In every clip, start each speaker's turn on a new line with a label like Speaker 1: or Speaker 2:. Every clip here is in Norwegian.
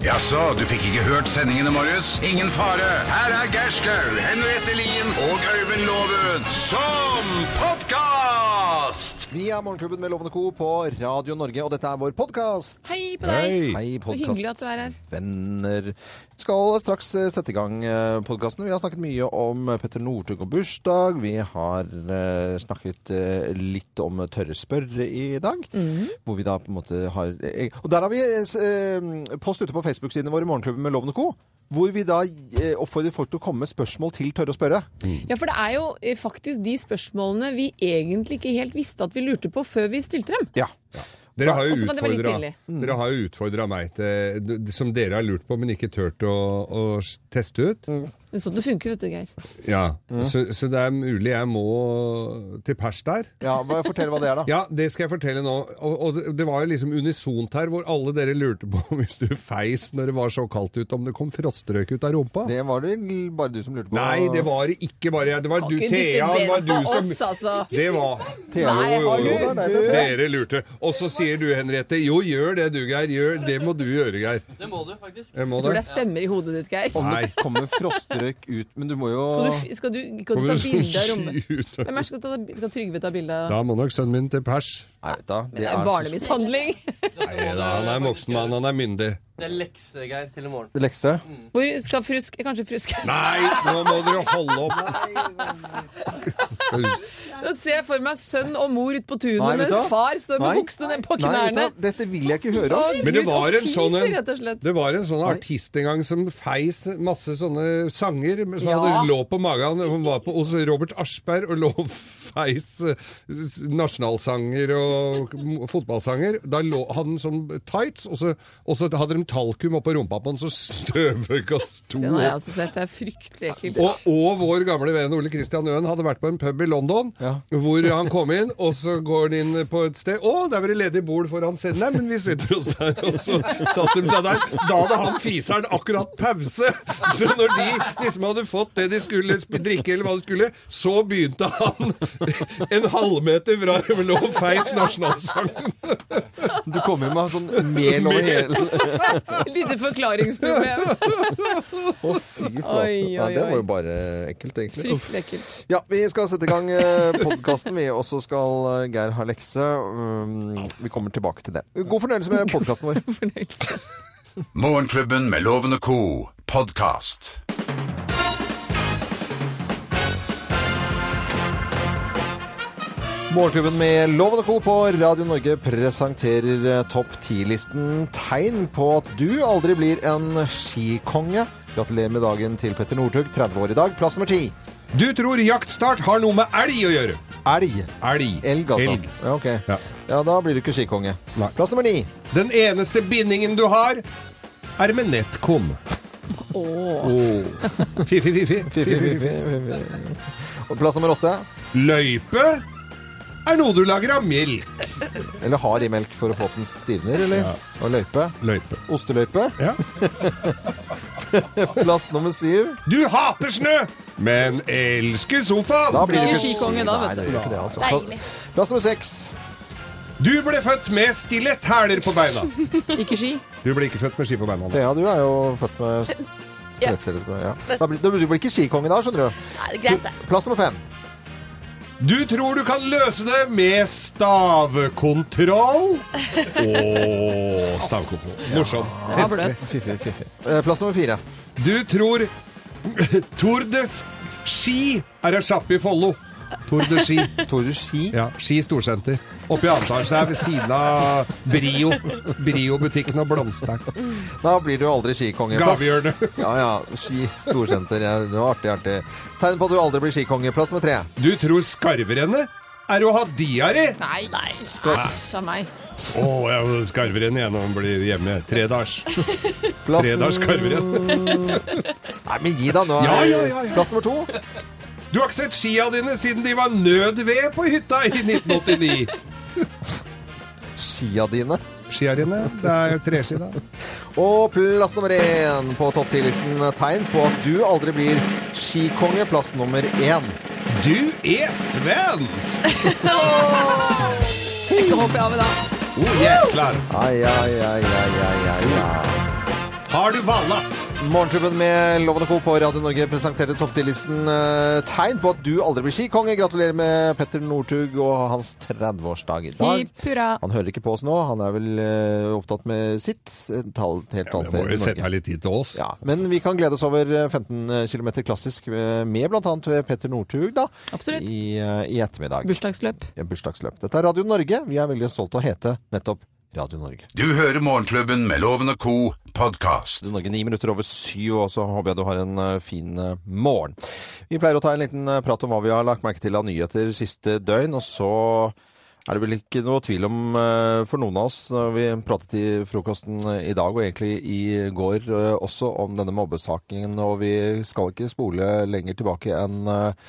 Speaker 1: Jaså, du fikk ikke hørt sendingene, Marius? Ingen fare. Her er Gerskaug, Henriette Lien og Øyvind Loven som podkast!
Speaker 2: Vi er Morgenklubben med Lovende Co. på Radio Norge, og dette er vår podkast.
Speaker 3: Hei på deg.
Speaker 2: Hei,
Speaker 3: Så hyggelig at du er her.
Speaker 2: podkastvenner. Vi skal straks eh, sette i gang podkasten. Vi har snakket mye om eh, Petter Northug og bursdag. Vi har eh, snakket eh, litt om tørre spørre i dag.
Speaker 3: Mhm.
Speaker 2: Hvor vi da på en måte har eh, Og der har vi eh, s- eh, post ute på Facebook-sidene våre, Morgenklubben med Lovende Co. Hvor vi da eh, oppfordrer folk til å komme med spørsmål til Tørre å spørre.
Speaker 3: Ja, for det er jo eh, faktisk de spørsmålene vi egentlig ikke helt visste at vi lurte på før vi stilte dem.
Speaker 2: Ja.
Speaker 4: Dere har jo
Speaker 3: Og så kan det være litt
Speaker 4: utfordra-
Speaker 3: pinlig.
Speaker 4: dere har jo utfordra meg til d- Som dere har lurt på, men ikke turt å, å s- teste ut.
Speaker 3: Men sånn det funker, vet du, Geir.
Speaker 4: Ja.
Speaker 3: Mm.
Speaker 4: Så, så det er mulig jeg må til pers der.
Speaker 2: ja hva- Fortell hva det er, da.
Speaker 4: Ja, det skal jeg fortelle nå. Og, og det- det var jo liksom unisont her, hvor alle dere lurte på hvis du feis når det var så kaldt ute, om det kom frostrøyk ut av rumpa.
Speaker 2: Det var det vel bare du som lurte på.
Speaker 4: Nei, det var det ikke bare jeg. Det var du,
Speaker 3: Ikke
Speaker 4: Thea.
Speaker 3: dytte
Speaker 4: Det var
Speaker 3: den
Speaker 4: du
Speaker 3: på
Speaker 4: som
Speaker 3: oss, altså.
Speaker 4: Det var
Speaker 2: Thea,
Speaker 3: Nei,
Speaker 4: Jo, jo,
Speaker 3: har du?
Speaker 4: jo.
Speaker 2: Nei, det tror jeg.
Speaker 4: Dere lurte. Og så sier du, Henriette, jo, gjør det du, Geir. Gjør, det må du gjøre, Geir.
Speaker 5: Det må du faktisk.
Speaker 4: Jeg må
Speaker 3: Tror det
Speaker 4: det.
Speaker 3: er stemmer i hodet ditt, Geir.
Speaker 2: Om det
Speaker 4: Nei.
Speaker 2: kommer frostrøyk ut Men du må jo
Speaker 3: Skal du, skal du, skal du ta bilde av rommet?
Speaker 4: ut
Speaker 3: Hvem er det som skal, ta- skal Trygve ta bilde av?
Speaker 4: Da må nok sønnen min til pers.
Speaker 2: Nei, vet du, det
Speaker 3: Det
Speaker 2: er
Speaker 3: er
Speaker 2: så-
Speaker 3: barnemishandling.
Speaker 4: Nei, da, han er en voksen mann, han er myndig.
Speaker 5: Det er lekse, Geir, til i morgen.
Speaker 2: lekse.
Speaker 3: Hvor skal frusk Kanskje frusk
Speaker 4: Nei, nå må dere holde opp.
Speaker 3: Nå ser jeg for meg sønn og mor ute på
Speaker 2: Nei,
Speaker 3: tunet,
Speaker 2: vet du
Speaker 3: mens
Speaker 2: hva?
Speaker 3: far står med
Speaker 2: Nei.
Speaker 3: buksene ned på
Speaker 2: Nei, vet
Speaker 3: knærne.
Speaker 2: du, hva, dette vil jeg ikke høre
Speaker 3: Å,
Speaker 2: om.
Speaker 3: Gud,
Speaker 4: Men det var en
Speaker 3: og
Speaker 4: sånn
Speaker 3: fiser, rett og slett.
Speaker 4: Det var en sånn artist en gang som feis masse sånne sanger som hadde
Speaker 3: Ja.
Speaker 4: lå på magen. Hun var på, hos Robert Aschberg og lå og feis eh, nasjonalsanger og m- fotballsanger. Da lå han som tights, og så, og så hadde de talkum oppå rumpa på han, så støvøka sto
Speaker 3: Den har jeg
Speaker 4: opp.
Speaker 3: altså sett. Det er fryktelig ekkelt.
Speaker 4: Og, og vår gamle venn Ole Christian Øen hadde vært på en pub i London, hvor han kom inn, og så går han inn på et sted Å, der var det ledig bord foran scenen. Nei, men vi sitter oss der. Og så satt de seg der. Da hadde han fiseren akkurat pause. Så når de liksom hadde fått det de skulle sp- drikke, eller hva de skulle, så begynte han en halvmeter fra Lå og feis nasjonalsangen.
Speaker 2: Du kommer jo med sånn mel over hele
Speaker 3: Lite forklaringsproblem.
Speaker 2: Å, fy flate.
Speaker 3: Oi, oi,
Speaker 2: Nei, det var jo
Speaker 3: oi.
Speaker 2: bare ekkelt, egentlig. Uff.
Speaker 3: Fryktelig ekkelt.
Speaker 2: Ja, vi skal sette i gang podkasten, vi. Og så skal eh, Geir ha lekse. Um, Vi kommer tilbake til det. God fornøyelse med podkasten vår.
Speaker 3: Fornøyelse.
Speaker 1: Morgenklubben med Loven og co. podkast.
Speaker 2: Morgenklubben med Loven og Co. på Radio Norge presenterer eh, topp 10-listen tegn på at du aldri blir en skikonge. Gratulerer med dagen til Petter Northug, 30 år i dag. Plass nummer 10.
Speaker 4: Du tror jaktstart har noe med elg å gjøre.
Speaker 2: Elg.
Speaker 4: Elg.
Speaker 2: Elg, altså.
Speaker 4: Elg.
Speaker 2: Ja, ok.
Speaker 4: Ja.
Speaker 2: Ja, da blir du ikke skikonge.
Speaker 4: Nei.
Speaker 2: Plass nummer ni.
Speaker 4: Den eneste bindingen du har, er med Netcom.
Speaker 3: Åh.
Speaker 4: Oh. Fiffi, fiffi.
Speaker 2: Fy, fy, fy, fy, fy. Og plass nummer åtte.
Speaker 4: Løype er noe du lager av melk.
Speaker 2: Eller hard i melk for å få at den stivner, eller? Og løype.
Speaker 4: Løype.
Speaker 2: Osteløype.
Speaker 4: Ja.
Speaker 2: Plass nummer syv.
Speaker 4: Du hater snø, men elsker sofa.
Speaker 2: Da blir du
Speaker 3: Blir
Speaker 2: ikke
Speaker 3: skikonge da,
Speaker 2: Nei,
Speaker 3: vet du.
Speaker 2: da gjør du ikke det, altså. Plass, plass nummer seks.
Speaker 4: Du ble født med stilett hæler på beina.
Speaker 3: Ikke ski.
Speaker 4: Du ble ikke født med ski på beina.
Speaker 2: Thea, du er jo født med stretter. Ja. Da blir, da blir du ikke skikonge da, skjønner du.
Speaker 6: Nei, det er greit, det.
Speaker 2: Plass nummer fem.
Speaker 4: Du tror du kan løse det med stavekontroll og stavkontroll. Morsom.
Speaker 3: Det var bløt.
Speaker 2: Fiffig, fiffig. Eh, Plass nummer fire.
Speaker 4: Du tror Tour de Ski er ei sjappe i Follo. Tour de Ski.
Speaker 2: Tror du ski?
Speaker 4: Ja, Ski storsenter. Oppe i Ansars der ved siden av Brio. Brio-butikken og blomsteren.
Speaker 2: Da blir du aldri skikonge. Plass-
Speaker 4: Gavehjørnet.
Speaker 2: Ja, ja. Ski storsenter. Ja, det var artig, artig. Tegn på at du aldri blir skikonge. Plass nummer tre.
Speaker 4: Du tror skarverennet er å ha diaré?
Speaker 3: Nei, nei. Æsj av meg.
Speaker 4: Å, ja, skarverennet igjen når man blir hjemme. Tredars.
Speaker 2: Plass
Speaker 4: Tredars skarverenn.
Speaker 2: Nei, men gi deg nå.
Speaker 4: Ja, ja, ja,
Speaker 2: Plass nummer to.
Speaker 4: Du har ikke sett skia dine siden de var nødved på hytta i 1989.
Speaker 2: Skia dine.
Speaker 4: Skia dine? Det er treski, da.
Speaker 2: Og plass nummer én på topp ti-listen. Tegn på at du aldri blir skikonge. Plass nummer én.
Speaker 4: Du er svensk!
Speaker 3: Jeg kan hoppe av i dag.
Speaker 4: Oh, jæklar.
Speaker 2: Ai, ai, ai, ai, ai, ai, ai.
Speaker 4: Har du vallat?
Speaker 2: Morgenklubben med Loven og Co. på Radio Norge presenterte topp 10-listen eh, tegn på at du aldri blir skikonge. Gratulerer med Petter Northug og hans 30-årsdag i dag.
Speaker 6: Hipp hurra.
Speaker 2: Han hører ikke på oss nå, han er vel eh, opptatt med sitt. Et tall- et helt annet
Speaker 4: Jeg
Speaker 2: sted
Speaker 4: må jo
Speaker 2: i
Speaker 4: sette
Speaker 2: Norge.
Speaker 4: av litt tid til oss.
Speaker 2: Ja, men vi kan glede oss over eh, 15 km klassisk eh, med bl.a. Petter Northug da,
Speaker 6: Absolutt.
Speaker 2: i, eh, i ettermiddag.
Speaker 6: Bursdagsløp.
Speaker 2: Ja, Bursdagsløp. Dette er Radio Norge. Vi er veldig stolte av å hete nettopp Radio Norge.
Speaker 1: Du hører Morgenklubben med Loven og Co. podkast.
Speaker 2: Radio Norge ni minutter over syv, og så håper jeg du har en eh, fin eh, morgen. Vi pleier å ta en liten eh, prat om hva vi har lagt merke til av nyheter siste døgn, og så er det vel ikke noe tvil om eh, for noen av oss når vi pratet i frokosten eh, i dag, og egentlig i går eh, også, om denne mobbesaken, og vi skal ikke spole lenger tilbake enn eh,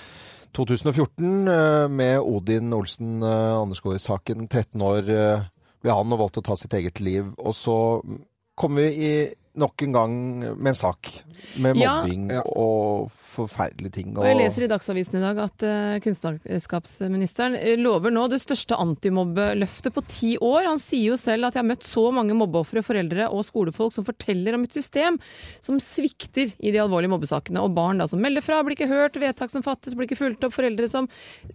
Speaker 2: 2014 eh, med Odin Olsen eh, Andersgaard-saken. 13 år eh, ble han og valgte å ta sitt eget liv. Og så kommer vi i nok en gang med en sak med
Speaker 3: Ja.
Speaker 2: mobbing
Speaker 4: Ja.
Speaker 2: og forferdelige ting.
Speaker 3: Og jeg leser i Dagsavisen i dag at eh, kunnskapsministeren eh, lover nå det største antimobbeløftet på ti år. Han sier jo selv at jeg har møtt så mange mobbeofre, foreldre og skolefolk som forteller om et system som svikter i de alvorlige mobbesakene. Og barn da som melder fra, blir ikke hørt, vedtak som fattes, blir ikke fulgt opp, foreldre som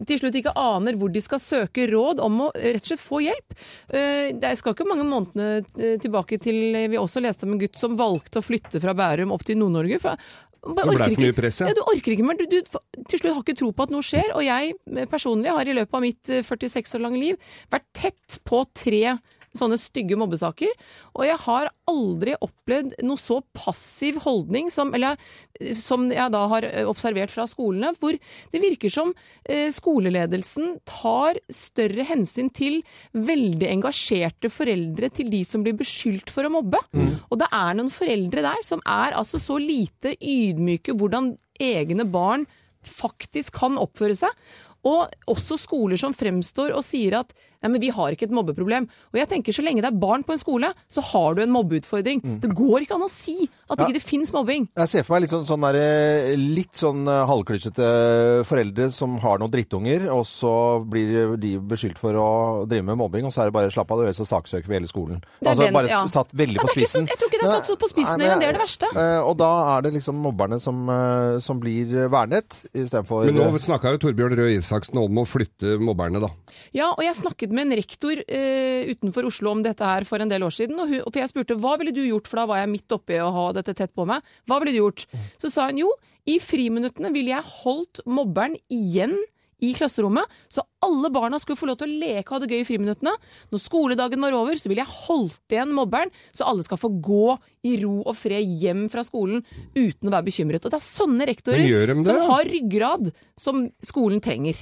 Speaker 3: til slutt ikke aner hvor de skal søke råd om å eh, rett og slett få hjelp. Eh, Det skal ikke mange månedene eh, tilbake til eh, vi også leste om en gutt som valgte å flytte fra Bærum opp til Nord-Norge. for han bare
Speaker 4: Det ble
Speaker 3: orker
Speaker 4: for mye
Speaker 3: ikke-
Speaker 4: press, ja.
Speaker 3: ja. Du orker ikke mer. Du, du til slutt har ikke tro på at noe skjer. Og jeg eh, personlig har i løpet av mitt eh, 46 år lange liv vært tett på tre sånne stygge mobbesaker. Og jeg har aldri opplevd noe så passiv holdning som, eller, eh, som jeg da har eh, observert fra skolene, hvor det virker som eh, skoleledelsen tar større hensyn til veldig engasjerte foreldre til de som blir beskyldt for å mobbe. Og det er noen foreldre der som er altså så lite ydmyke hvordan egne barn faktisk kan oppføre seg. Og også skoler som fremstår og sier at nei, men vi har ikke et mobbeproblem. Og jeg tenker så lenge det er barn på en skole, så har du en mobbeutfordring. Det går ikke an å si at ikke det finnes mobbing.
Speaker 2: Jeg ser for meg litt sånn, sånn der, eh, litt sånn eh, halvklusete foreldre som har noen drittunger, og så blir de beskyldt for å drive med mobbing, og så er det bare slapp av, det så saksøker vi hele skolen.
Speaker 3: er
Speaker 2: Altså
Speaker 3: den,
Speaker 2: bare
Speaker 3: ja.
Speaker 2: satt veldig
Speaker 3: Ja,
Speaker 2: på
Speaker 3: det er ikke
Speaker 2: spissen.
Speaker 3: så- jeg tror ikke det er
Speaker 2: Men-
Speaker 3: satt så på spissen
Speaker 2: Nei, men-
Speaker 3: engang, det er det verste.
Speaker 2: eh, Og da er det liksom mobberne som, eh, som blir vernet, istedenfor
Speaker 4: Men nå snakka jo Torbjørn Røe Isaksen om å flytte mobberne, da.
Speaker 3: Ja, og jeg snakket med en rektor eh, utenfor Oslo om dette her for en del år siden. Og hun, for jeg spurte hva ville du gjort, for da var jeg midt oppi å ha dette tett på meg. Hva ville du gjort? Så sa hun jo, i friminuttene ville jeg holdt mobberen igjen i klasserommet, så alle barna skulle få lov til å leke og ha det gøy i friminuttene. Når skoledagen var over, så ville jeg holdt igjen mobberen, så alle skal få gå i ro og fred hjem fra skolen uten å være bekymret. Og det er sånne rektorer
Speaker 4: Men gjør de det,
Speaker 3: som
Speaker 4: ja?
Speaker 3: har ryggrad som skolen trenger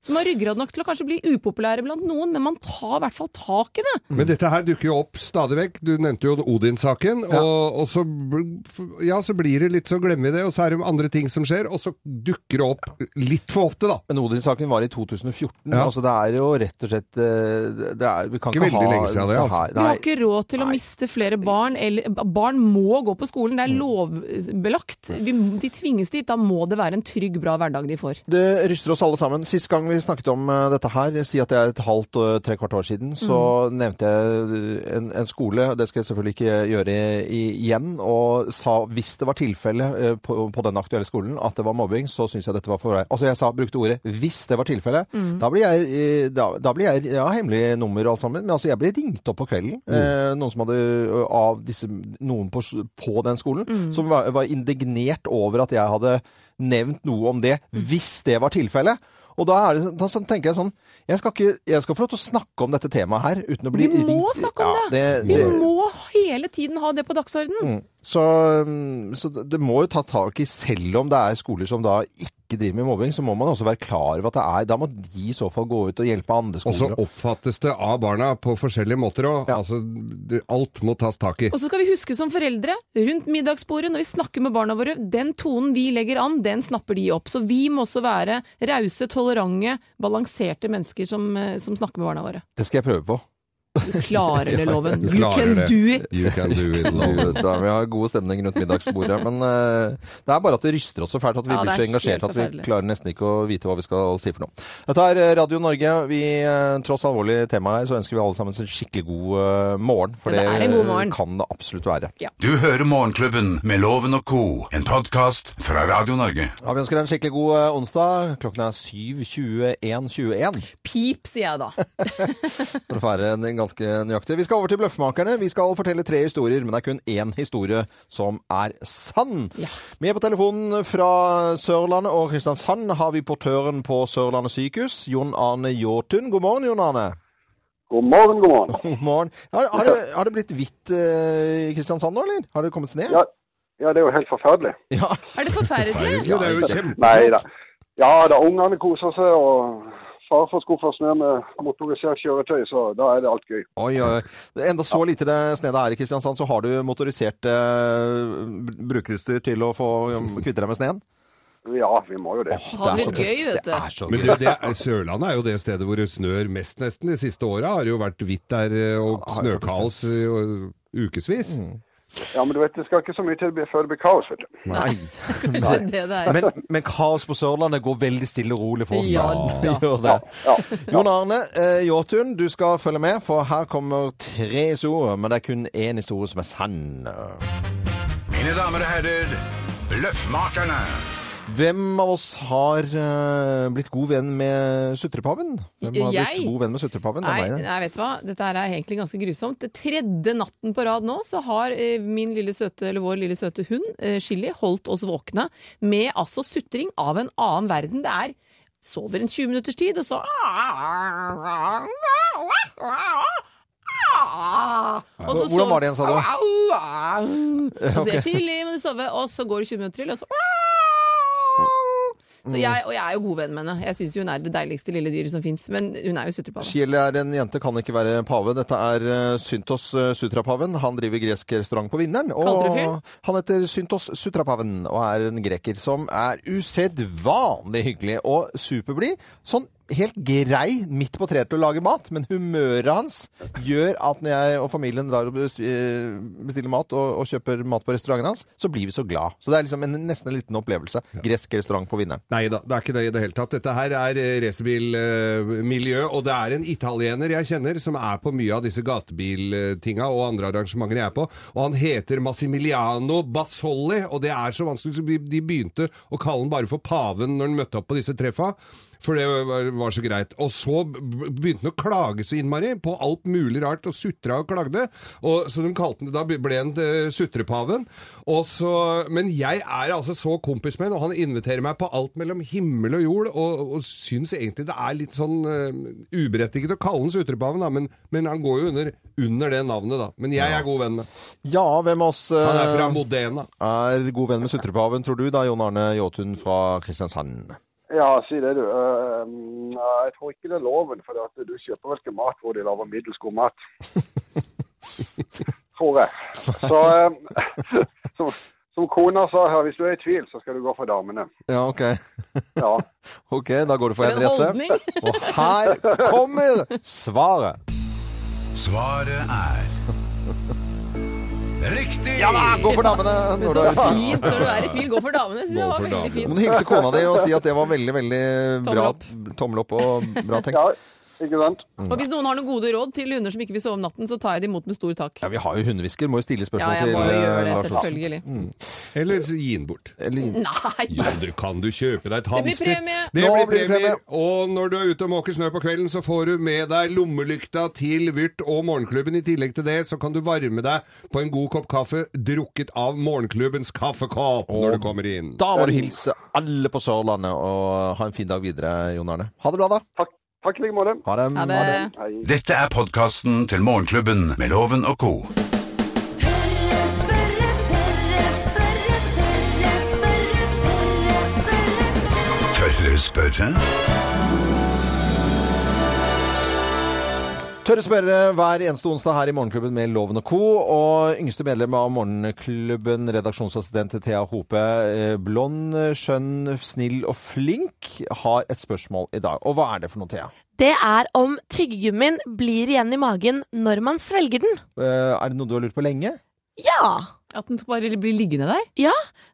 Speaker 3: som har ryggrad nok til å kanskje bli upopulære blant noen, men man tar i hvert fall tak i det.
Speaker 4: Men dette her dukker jo opp stadig vekk. Du nevnte jo Odin-saken. Og, og så, bl- ja, så blir det litt så glemmer vi det, og så er det andre ting som skjer. Og så dukker det opp litt for ofte, da.
Speaker 2: Men Odin-saken var i 2014.
Speaker 4: Ja.
Speaker 2: Altså det er jo rett og slett eh, det er, Vi kan
Speaker 4: Ikke
Speaker 2: ikke,
Speaker 4: veldig
Speaker 2: ha
Speaker 4: lenge siden det,
Speaker 2: dette
Speaker 4: altså.
Speaker 2: her.
Speaker 3: Du har
Speaker 2: Nei.
Speaker 3: ikke råd til å miste flere barn. Eller, barn må gå på skolen, det
Speaker 2: Mm.
Speaker 3: er lovbelagt. Vi, de tvinges dit, da må det være en trygg, bra hverdag de får.
Speaker 2: Det ryster oss alle sammen. Sist gang vi snakket om eh, dette her, si at det er et halvt og tre kvart år siden, så nevnte jeg eh, en, en skole, det skal jeg selvfølgelig ikke gjøre i, i, igjen, og sa hvis det var tilfelle eh, på, på den aktuelle skolen at det var mobbing, så syns jeg dette var for deg. Altså jeg sa, brukte ordet 'hvis det var tilfelle'. Da blir jeg, eh, da, da blir jeg ja, hemmelig nummer og alt sammen, men altså jeg ble ringt opp på kvelden, eh, noen som hadde eh, av disse, noen på, s- på den skolen, som var, var indignert over at jeg hadde nevnt noe om det, hvis det var tilfellet. Og da, er det, da sånn tenker jeg sånn jeg skal, ikke, jeg skal få lov til å snakke om dette temaet her uten å bli
Speaker 3: Vi må
Speaker 2: ringt-
Speaker 3: snakke om
Speaker 2: ja,
Speaker 3: det. Vi
Speaker 2: det, Mm.
Speaker 3: må hele tiden ha det på dagsordenen.
Speaker 2: så, um, så det det må jo ta tak i, selv om det er skoler som da ikke driver med mobbing, så må man også være klar over at det er Da må de i så fall gå ut og hjelpe andre
Speaker 4: Og så
Speaker 2: skoler.
Speaker 4: oppfattes det av barna på forskjellige måter òg. Altså, det- alt må tas tak i.
Speaker 3: Og så skal vi huske som foreldre, rundt middagsbordet når vi snakker med barna våre, den tonen vi legger an, den snapper de opp. Så vi må også være rause, tolerante, balanserte mennesker som, eh, som snakker med barna våre.
Speaker 2: Det skal jeg prøve på.
Speaker 3: Du klarer det, Loven.
Speaker 4: Du
Speaker 3: You
Speaker 4: klarer
Speaker 3: can
Speaker 4: det.
Speaker 3: do it.
Speaker 4: You can do it, Loven.
Speaker 2: Da, vi har god stemning rundt middagsbordet. Men eh, det er bare at det ryster oss så fælt at vi
Speaker 3: Ja, det
Speaker 2: blir
Speaker 3: er
Speaker 2: så
Speaker 3: helt
Speaker 2: engasjert at vi
Speaker 3: forferdelig.
Speaker 2: klarer nesten ikke å vite hva vi skal si for noe. Dette er eh, Radio Norge. Vi, eh, tross alvorlig tema her, så ønsker vi alle sammen en skikkelig god eh, morgen. For
Speaker 3: Ja, det er en god morgen.
Speaker 2: kan det absolutt være.
Speaker 1: Du hører Morgenklubben med Loven og co., en podkast fra Radio Norge.
Speaker 2: Ja, vi ønsker deg en skikkelig god eh, onsdag. Klokken er 7.21.21.
Speaker 3: Pip, sier jeg da.
Speaker 2: For å være en- ganske nøyaktig. Vi skal over til Bløffmakerne. Vi skal fortelle tre historier, men det er kun én historie som er sann. Med på telefonen fra Sørlandet og Kristiansand har vi portøren på Sørlandet sykehus, Jon Arne Jåtun. God morgen, Jon Arne.
Speaker 6: God morgen, god morgen.
Speaker 2: God morgen. Har, har, det, har det blitt hvitt eh, i Kristiansand nå, eller? Har det kommet snø?
Speaker 6: Ja, ja, det er jo helt forferdelig.
Speaker 2: Ja.
Speaker 3: Er det forferdelig?
Speaker 4: Jo, det er jo kjempe...
Speaker 6: Nei da. Ja da, ungene koser seg, og farfar skuffer snø med motorisert kjøretøy, så da er det alt gøy.
Speaker 2: Oi, oi. Enda så lite det snø det er i Kristiansand, så har du motorisert eh, br- brukerutstyr til å få um, kvitte deg med sneen?
Speaker 6: Ja, vi må jo det.
Speaker 3: Har det
Speaker 2: så
Speaker 3: blitt gøy, vet
Speaker 2: Det
Speaker 3: du.
Speaker 2: er så
Speaker 4: Men
Speaker 2: gøy.
Speaker 4: du, det er, Sørlandet er jo det stedet hvor det snør mest nesten. De siste åra har det jo vært hvitt der eh, og
Speaker 2: Ja, det har jo
Speaker 4: snøkaos i eh, ukevis.
Speaker 2: Mm.
Speaker 6: Ja, men du vet, det skal ikke så mye til å bli- før det blir kaos, vet du.
Speaker 2: Nei.
Speaker 3: Kanskje det det er.
Speaker 2: Men, men kaos på Sørlandet går veldig stille og rolig for oss.
Speaker 3: Ja,
Speaker 2: Det
Speaker 3: da.
Speaker 2: gjør det. Jon Arne eh, Jåtun, du skal følge med, for her kommer tre historier, men det er kun én historie som er sann.
Speaker 1: Mine damer og herrer, Bløffmakerne.
Speaker 2: Hvem av oss har eh, blitt god venn med sutrepaven? Hvem har
Speaker 3: Jeg?
Speaker 2: blitt god venn med sutrepaven? Det er
Speaker 3: Nei,
Speaker 2: meg, det.
Speaker 3: nei, vet du hva? Dette her er egentlig ganske grusomt. Det tredje natten på rad nå så har eh, min lille søte, eller vår lille søte hund, eh, Chili, holdt oss våkne med altså sutring av en annen verden. Det er sover en 20 minutters tid, og så og så
Speaker 2: Hvordan var det igjen, sa du?
Speaker 3: du? Så sier jeg,
Speaker 2: Ok.
Speaker 3: Chili, må du sove? Og så går det 20 minutter til, og så
Speaker 2: Mm.
Speaker 3: så jeg, og jeg er jo god venn med henne. Jeg syns hun er det deiligste lille dyret som fins. Men hun er jo sutrepaven.
Speaker 2: Kiel er en jente, kan ikke være pave. Dette er eh, Syntos eh, Sutrapaven. Han driver gresk restaurant på Vinneren.
Speaker 3: Kalte du fyren?
Speaker 2: Og han heter Syntos Sutrapaven og er en greker som er usedvanlig hyggelig og superblid. Sånn helt grei midt på treet til å lage mat, men humøret hans gjør at når jeg og familien drar og bes- eh, bestiller mat og, og kjøper mat på restauranten hans, så blir vi så glad. Så det er liksom en, nesten en liten opplevelse. Gresk restaurant på Vinneren.
Speaker 4: Nei da, det er ikke det i det hele tatt. Dette her er eh, racerbilmiljø, og det er en italiener jeg kjenner som er på mye av disse gatebiltinga og andre arrangementer jeg er på, og han heter Massimiliano Basolli, og det er så vanskelig, så de- de begynte å kalle han bare for paven når han møtte opp på disse treffa. For det var- var så greit. Og så b- begynte han å klage så innmari på alt mulig rart, og sutra og klagde. Og, så de kalte han, da ble han eh, sutrepaven. Og så, men jeg er altså så kompis med han, og han inviterer meg på alt mellom himmel og jord, og, og syns egentlig det er litt sånn eh, uberettiget å kalle han sutrepaven, da, men, men han går jo under, under det navnet, da. Men jeg er god venn med
Speaker 2: Ja, hvem av oss eh,
Speaker 4: Han er fra Modena.
Speaker 2: er god venn med sutrepaven, tror du da, Jon Arne Jåtun fra Kristiansand?
Speaker 6: Ja, si det du. Eh, mm, eh, jeg tror ikke det er loven, for at du kjøper vel ikke mat hvor de lager middelsgod mat. tror jeg. Så, eh, som, som kona sa her, hvis du er i tvil, så skal du gå for damene.
Speaker 2: Ja, ok.
Speaker 6: Ja.
Speaker 2: Ok, da går du for
Speaker 3: For en holdning!
Speaker 2: Henriette. Og her kommer svaret.
Speaker 1: Svaret er Riktig!
Speaker 2: Ja da, gå for damene! Når du
Speaker 3: Så
Speaker 2: er i tvil.
Speaker 3: fint når du er i tvil. Gå for damene. Jeg synes det
Speaker 4: Gå
Speaker 3: var
Speaker 4: for
Speaker 3: veldig
Speaker 2: Du
Speaker 4: damene.
Speaker 3: fint.
Speaker 2: må hilse kona di og si at det var veldig, veldig bra.
Speaker 3: Tommel opp.
Speaker 2: Tommel opp og bra tenkt.
Speaker 6: ja, ikke sant?
Speaker 3: Og hvis noen har noen gode råd til hunder som ikke vil sove om natten, så tar jeg det imot med stor takk.
Speaker 2: Ja, vi har jo hundehvisker. Må jo stille
Speaker 3: Ja,
Speaker 2: spørsmål
Speaker 3: jeg
Speaker 2: til
Speaker 3: må jo gjøre
Speaker 2: eh,
Speaker 3: det,
Speaker 2: Lars Olsen.
Speaker 3: selvfølgelig.
Speaker 4: Eller så gi den bort.
Speaker 2: Eller-
Speaker 3: Nei!
Speaker 4: Jo, du kan du kjøpe deg et
Speaker 3: blir
Speaker 4: hamster.
Speaker 3: premie!
Speaker 4: Det
Speaker 2: Nå
Speaker 4: blir
Speaker 2: blir det premie.
Speaker 4: premie. Og når du er ute og måker snø på kvelden, så får du med deg lommelykta til Vyrt og Morgenklubben. I tillegg til det så kan du varme deg på en god kopp kaffe drukket av Morgenklubbens kaffekopp når du kommer inn.
Speaker 2: Da må du hilse alle på Sørlandet og ha en fin dag videre, Jon Arne. Ha det bra, da.
Speaker 6: Takk, takk i like måte.
Speaker 2: Ha det.
Speaker 3: Ha det.
Speaker 6: Hei.
Speaker 1: Dette er podkasten til Morgenklubben med Loven og co.
Speaker 7: Tørre spørre, tørre spørre, tørre spørre, tørre spørre.
Speaker 1: Tørre spørre?
Speaker 2: Tørre spørre hver eneste onsdag her i Morgenklubben med Loven og Co. Og yngste medlem av Morgenklubben, redaksjonsassistent til Thea Hope, eh, blond, skjønn, snill og flink, har et spørsmål i dag. Og hva er det for noe, Thea?
Speaker 8: Det er om tyggegummien blir igjen i magen når man svelger den.
Speaker 2: Eh, er det noe du har lurt på lenge?
Speaker 8: Ja!
Speaker 3: At den bare blir liggende der?
Speaker 8: Ja,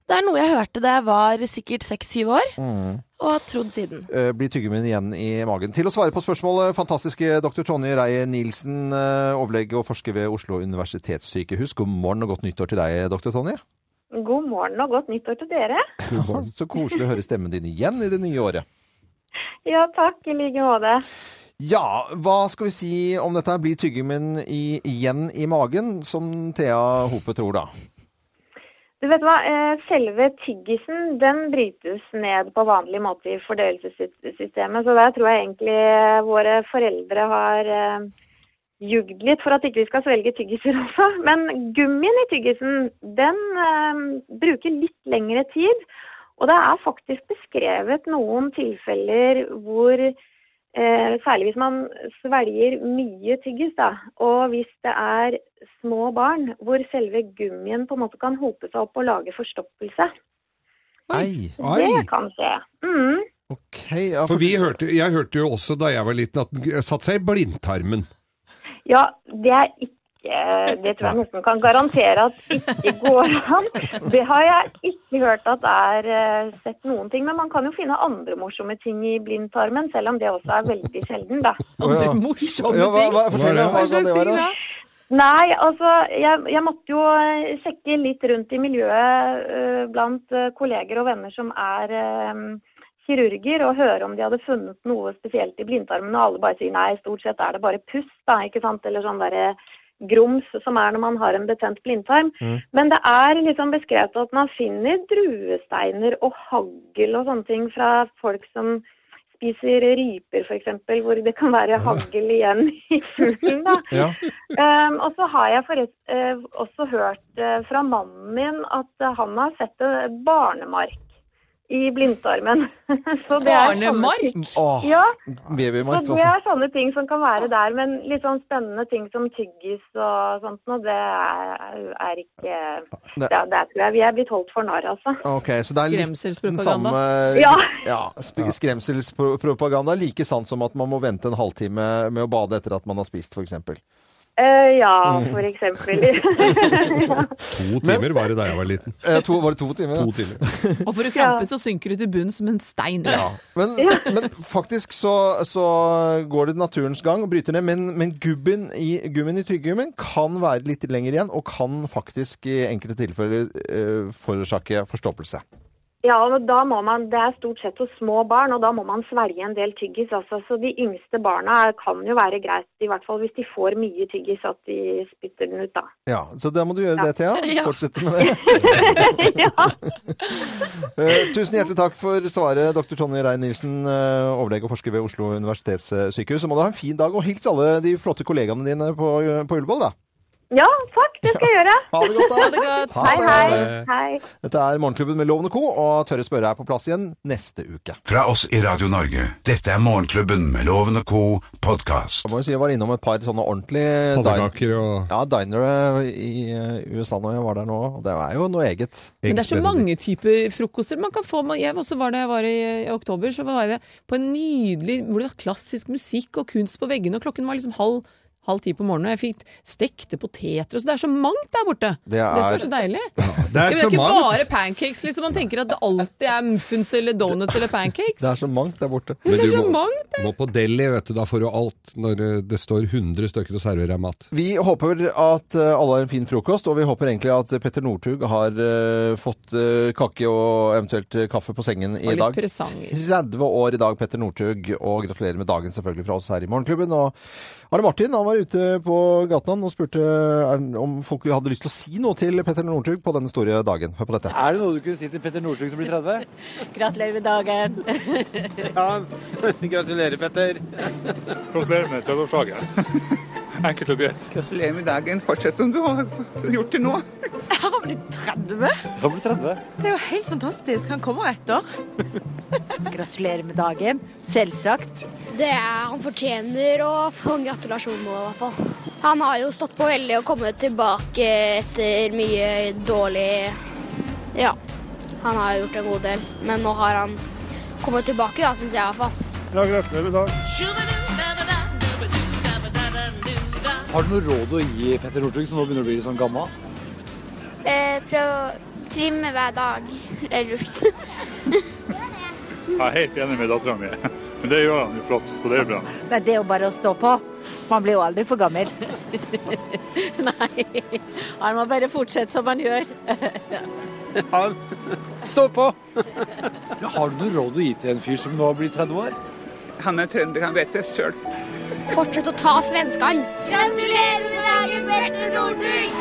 Speaker 8: det er noe jeg hørte da jeg var sikkert 6-7 år,
Speaker 2: Mm.
Speaker 8: og har trodd siden.
Speaker 2: Eh, blir tyggegummin igjen i magen? Til å svare på spørsmålet, fantastiske dr. Tonje Reie-Nielsen, eh, overlege og forsker ved Oslo universitetssykehus. God morgen og godt nyttår til deg, dr. Tonje.
Speaker 9: God morgen og godt nyttår til dere.
Speaker 2: Så koselig å høre stemmen din igjen i det nye året.
Speaker 9: Ja, takk. I like måte.
Speaker 2: Ja, hva skal vi si om dette? her? Blir tyggegummin i, igjen i magen, som Thea Hope tror, da?
Speaker 9: Du vet hva, eh, selve tyggisen den brytes ned på vanlig måte i fordøyelsessystemet, så der tror jeg egentlig eh, våre foreldre har eh, jugd litt for at ikke vi skal svelge tyggiser også. Men gummien i tyggisen, den eh, bruker litt lengre tid, og det er faktisk beskrevet noen tilfeller hvor Eh, særlig hvis man svelger mye tyggis, da. Og hvis det er små barn hvor selve gummien på en måte kan hope seg opp og lage forstoppelse.
Speaker 2: Ei.
Speaker 4: Oi.
Speaker 9: Det kan skje. Mm.
Speaker 2: Ok, ja,
Speaker 4: For vi hørte, jeg hørte jo også da jeg var liten at den satte seg i blindtarmen.
Speaker 9: Ja, det er ikke Det tror jeg nesten kan garantere at ikke går an. Det har jeg ikke hørt at er eh, sett noen ting. Men man kan jo finne andre morsomme ting i blindtarmen, selv om det også er veldig sjelden, da.
Speaker 3: Andre
Speaker 2: ja.
Speaker 3: morsomme
Speaker 2: ja, hva,
Speaker 3: ting!
Speaker 2: hva, fortell,
Speaker 4: Hva er det?
Speaker 2: hva kan det være?
Speaker 3: da?
Speaker 9: Nei, altså jeg, jeg måtte jo eh, sjekke litt rundt i miljøet eh, blant eh, kolleger og venner som er eh, kirurger, og høre om de hadde funnet noe spesielt i blindtarmen. Og alle bare sier nei, stort sett er det bare puss, da, ikke sant? Eller sånn derre grums som er når man har en betent blindtarm. Men det er liksom beskrevet at man finner druesteiner og hagl og sånne ting fra folk som spiser ryper f.eks., hvor det kan være hagl igjen i fuglen. da.
Speaker 2: Ja.
Speaker 9: Um, og så har jeg forrest, eh, også hørt eh, fra mannen min at eh, han har sett eh, barnemark i blindtarmen. så det er sånne-
Speaker 3: Barnemark?
Speaker 2: Åh,
Speaker 9: Ja, så
Speaker 2: babymark,
Speaker 9: det
Speaker 2: altså.
Speaker 9: er sånne ting som kan være der. Men litt sånn spennende ting som tyggis og sånt noe, det er, er ikke
Speaker 2: Nei.
Speaker 9: ja, Der tror jeg vi er blitt holdt for narr, altså.
Speaker 2: Ok, så det er litt den
Speaker 3: Skremselspropaganda.
Speaker 2: samme
Speaker 9: Ja.
Speaker 2: ja, sp- skremselspropaganda. Like sant som at man må vente en halvtime med å bade etter at man har spist, f.eks.
Speaker 9: Eh, ja,
Speaker 2: Mm.
Speaker 9: for eksempel. ja.
Speaker 4: To timer var det da jeg var liten.
Speaker 2: Eh, to, var det to timer?
Speaker 4: To
Speaker 2: Ja.
Speaker 4: timer.
Speaker 3: Og for å krampe så synker du til bunnen som en stein.
Speaker 2: Men, men faktisk så, så går det naturens gang og bryter ned. Men, men gubben i, gummen i tyggegummien kan være litt lenger igjen, og kan faktisk i enkelte tilfeller eh, forårsake forstoppelse.
Speaker 9: Ja, og da må man, Det er stort sett hos små barn, og da må man svelge en del tyggis. Altså. Så De yngste barna kan jo være greit, i hvert fall hvis de får mye tyggis, at de spytter den ut. da.
Speaker 2: Ja, Så da må du gjøre det, Thea.
Speaker 8: Ja.
Speaker 2: Fortsette med det. Eh, tusen hjertelig takk for svaret, dr. Tonje Rein-Nielsen, eh, overlege og forsker ved Oslo universitetssykehus. Så må du ha en fin dag, og hils alle de flotte kollegaene dine på, på Ullevål, da.
Speaker 9: Ja, takk, det skal jeg gjøre.
Speaker 2: Ha det godt, da.
Speaker 3: Ha det godt.
Speaker 9: Hei, hei. hei.
Speaker 2: Dette er Morgenklubben med Loven og Co., og Tørre spørre er på plass igjen neste uke.
Speaker 1: Fra oss i Radio Norge. Dette er Morgenklubben med Loven og co. podkast.
Speaker 2: Jeg må jo si jeg var innom et par sånne ordentlige din
Speaker 4: Pannekaker og
Speaker 2: ja, dinere i eh, USA når jeg var der nå, og det er jo noe eget.
Speaker 3: Men det er så
Speaker 4: eggspenner.
Speaker 3: mange typer frokoster man kan få. Man- Jeg også var da jeg var i, i oktober, så var jeg på en nydelig hvor det var klassisk musikk og kunst på veggene, og klokken var liksom halv, halv ti på morgenen, og jeg fikk stekte poteter og så Det er så mangt der borte!
Speaker 2: Det er-
Speaker 3: som er så deilig.
Speaker 4: Det
Speaker 3: Ja,
Speaker 4: er
Speaker 3: men
Speaker 4: så
Speaker 3: det er ikke bare
Speaker 4: mangt!
Speaker 3: pancakes, liksom. Man tenker at det alltid er muffins eller donuts eller pancakes.
Speaker 2: Det er så mangt der borte.
Speaker 4: Men
Speaker 3: Det er
Speaker 4: du
Speaker 3: så
Speaker 4: må,
Speaker 3: mangt.
Speaker 4: må på deli, vet du. Da får du alt når eh, det står 100 stykker og serverer deg mat.
Speaker 2: Vi håper at eh, alle har en fin frokost, og vi håper egentlig at Petter Northug har eh, fått eh, kake og eventuelt eh, kaffe på sengen i
Speaker 3: litt
Speaker 2: dag.
Speaker 3: presanger.
Speaker 2: 30 år i dag, Petter Northug, og gratulerer med dagen selvfølgelig fra oss her i Morgenklubben. Og Arne Martin han var ute på gaten han og spurte er han- om folk hadde lyst til å si noe til Petter Northug på denne store dagen. Hør på dette.
Speaker 10: Er det noe du kunne si til Petter Northug som blir 30?
Speaker 8: Gratulerer med dagen.
Speaker 10: Ja, gratulerer, Petter.
Speaker 11: Gratulerer med 30-årsdagen. Enkelt og greit.
Speaker 5: Gratulerer med dagen. Fortsett som du har gjort til nå.
Speaker 8: Jeg har blitt 30.
Speaker 10: Han blir 30.
Speaker 8: Det er jo helt fantastisk. Han kommer etter. Gratulerer med dagen. Selvsagt.
Speaker 7: Det er, Han fortjener å få en gratulasjon nå, i hvert fall. Han har jo stått på veldig og kommet tilbake etter mye dårlig Ja, han har gjort en god del, men nå har han kommet tilbake, da, syns jeg i hvert fall.
Speaker 11: Ja, gratulerer med dagen.
Speaker 7: Sju minutter
Speaker 10: Har du noe råd å gi Petter Northug, som nå begynner å bli litt sånn gammel?
Speaker 7: Eh, prøv å trimme hver dag. Det er lurt.
Speaker 11: Jeg er helt enig med dattera mi. Men det gjør han jo flott, så det er bra.
Speaker 8: Nei, det er jo bare å stå på. Man blir jo aldri for gammel.
Speaker 12: Han må bare fortsette som han gjør.
Speaker 10: Ja, stå på! Ja, har du noe råd å gi til en fyr som nå har blitt 30 år?
Speaker 5: Han er trønder, han vet det sjøl.
Speaker 7: Fortsett å ta svenskene. Gratulerer med dagen, Berte Northug!